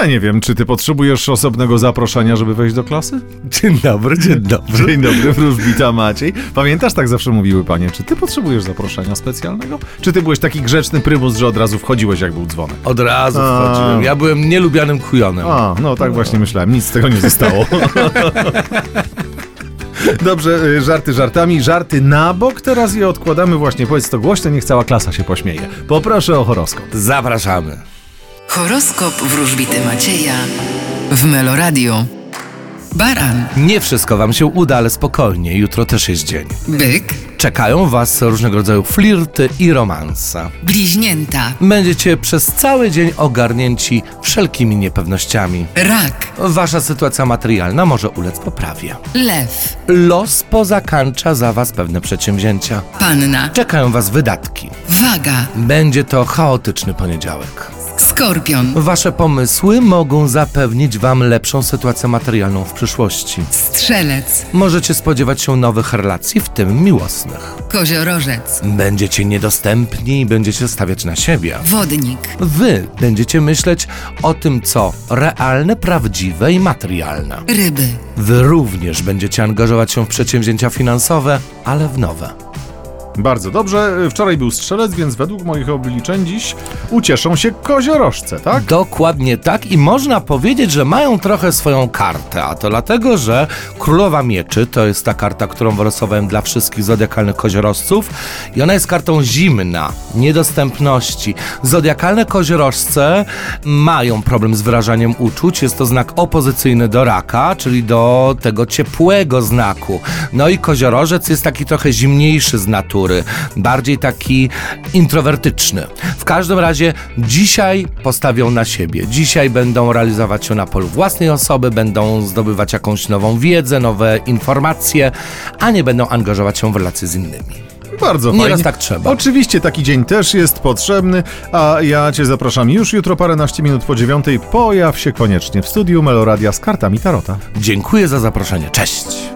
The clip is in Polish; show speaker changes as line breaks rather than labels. Ja nie wiem, czy ty potrzebujesz osobnego zaproszenia, żeby wejść do klasy?
Dzień dobry, dzień dobry.
Dzień dobry, wróżbita Maciej. Pamiętasz, tak zawsze mówiły panie, czy ty potrzebujesz zaproszenia specjalnego? Czy ty byłeś taki grzeczny prymus, że od razu wchodziłeś, jak był dzwonek?
Od razu
A.
wchodziłem. Ja byłem nielubianym kujonem.
A, no tak właśnie myślałem, nic z tego nie zostało. Dobrze, y, żarty żartami, żarty na bok, teraz je odkładamy właśnie, powiedz to głośno, niech cała klasa się pośmieje. Poproszę o horoskop.
Zapraszamy.
Horoskop wróżbity Macieja w Meloradio. Baran,
Nie wszystko wam się uda, ale spokojnie, jutro też jest dzień.
byk,
Czekają was różnego rodzaju flirty i romanse.
bliźnięta,
Będziecie przez cały dzień ogarnięci wszelkimi niepewnościami.
rak,
Wasza sytuacja materialna może ulec poprawie.
lew,
Los pozakańcza za was pewne przedsięwzięcia.
panna,
Czekają was wydatki.
waga,
Będzie to chaotyczny poniedziałek.
skorpion,
Wasze pomysły mogą zapewnić Wam lepszą sytuację materialną w przyszłości.
strzelec,
Możecie spodziewać się nowych relacji, w tym miłosnych.
koziorożec,
Będziecie niedostępni i będziecie stawiać na siebie.
wodnik,
Wy będziecie myśleć o tym, co realne, prawdziwe i materialne.
ryby,
Wy również będziecie angażować się w przedsięwzięcia finansowe, ale w nowe.
Bardzo dobrze, y, wczoraj był strzelec, więc według moich obliczeń dziś ucieszą się koziorożce, tak?
Dokładnie tak i można powiedzieć, że mają trochę swoją kartę, a to dlatego, że Królowa Mieczy to jest ta karta, którą wylosowałem dla wszystkich zodiakalnych koziorożców i ona jest kartą zimna, niedostępności. Zodiakalne koziorożce mają problem z wyrażaniem uczuć, jest to znak opozycyjny do raka, czyli do tego ciepłego znaku. No i koziorożec jest taki trochę zimniejszy z natury, bardziej taki introwertyczny. W każdym razie dzisiaj postawią na siebie. Dzisiaj będą realizować się na polu własnej osoby, będą zdobywać jakąś nową wiedzę, nowe informacje, a nie będą angażować się w relacje z innymi.
Bardzo
Nieraz
fajnie.
tak trzeba.
Oczywiście taki dzień też jest potrzebny, a ja Cię zapraszam już jutro paręnaście minut po dziewiątej. Pojaw się koniecznie w studiu Meloradia z kartami Tarota.
Dziękuję za zaproszenie. Cześć!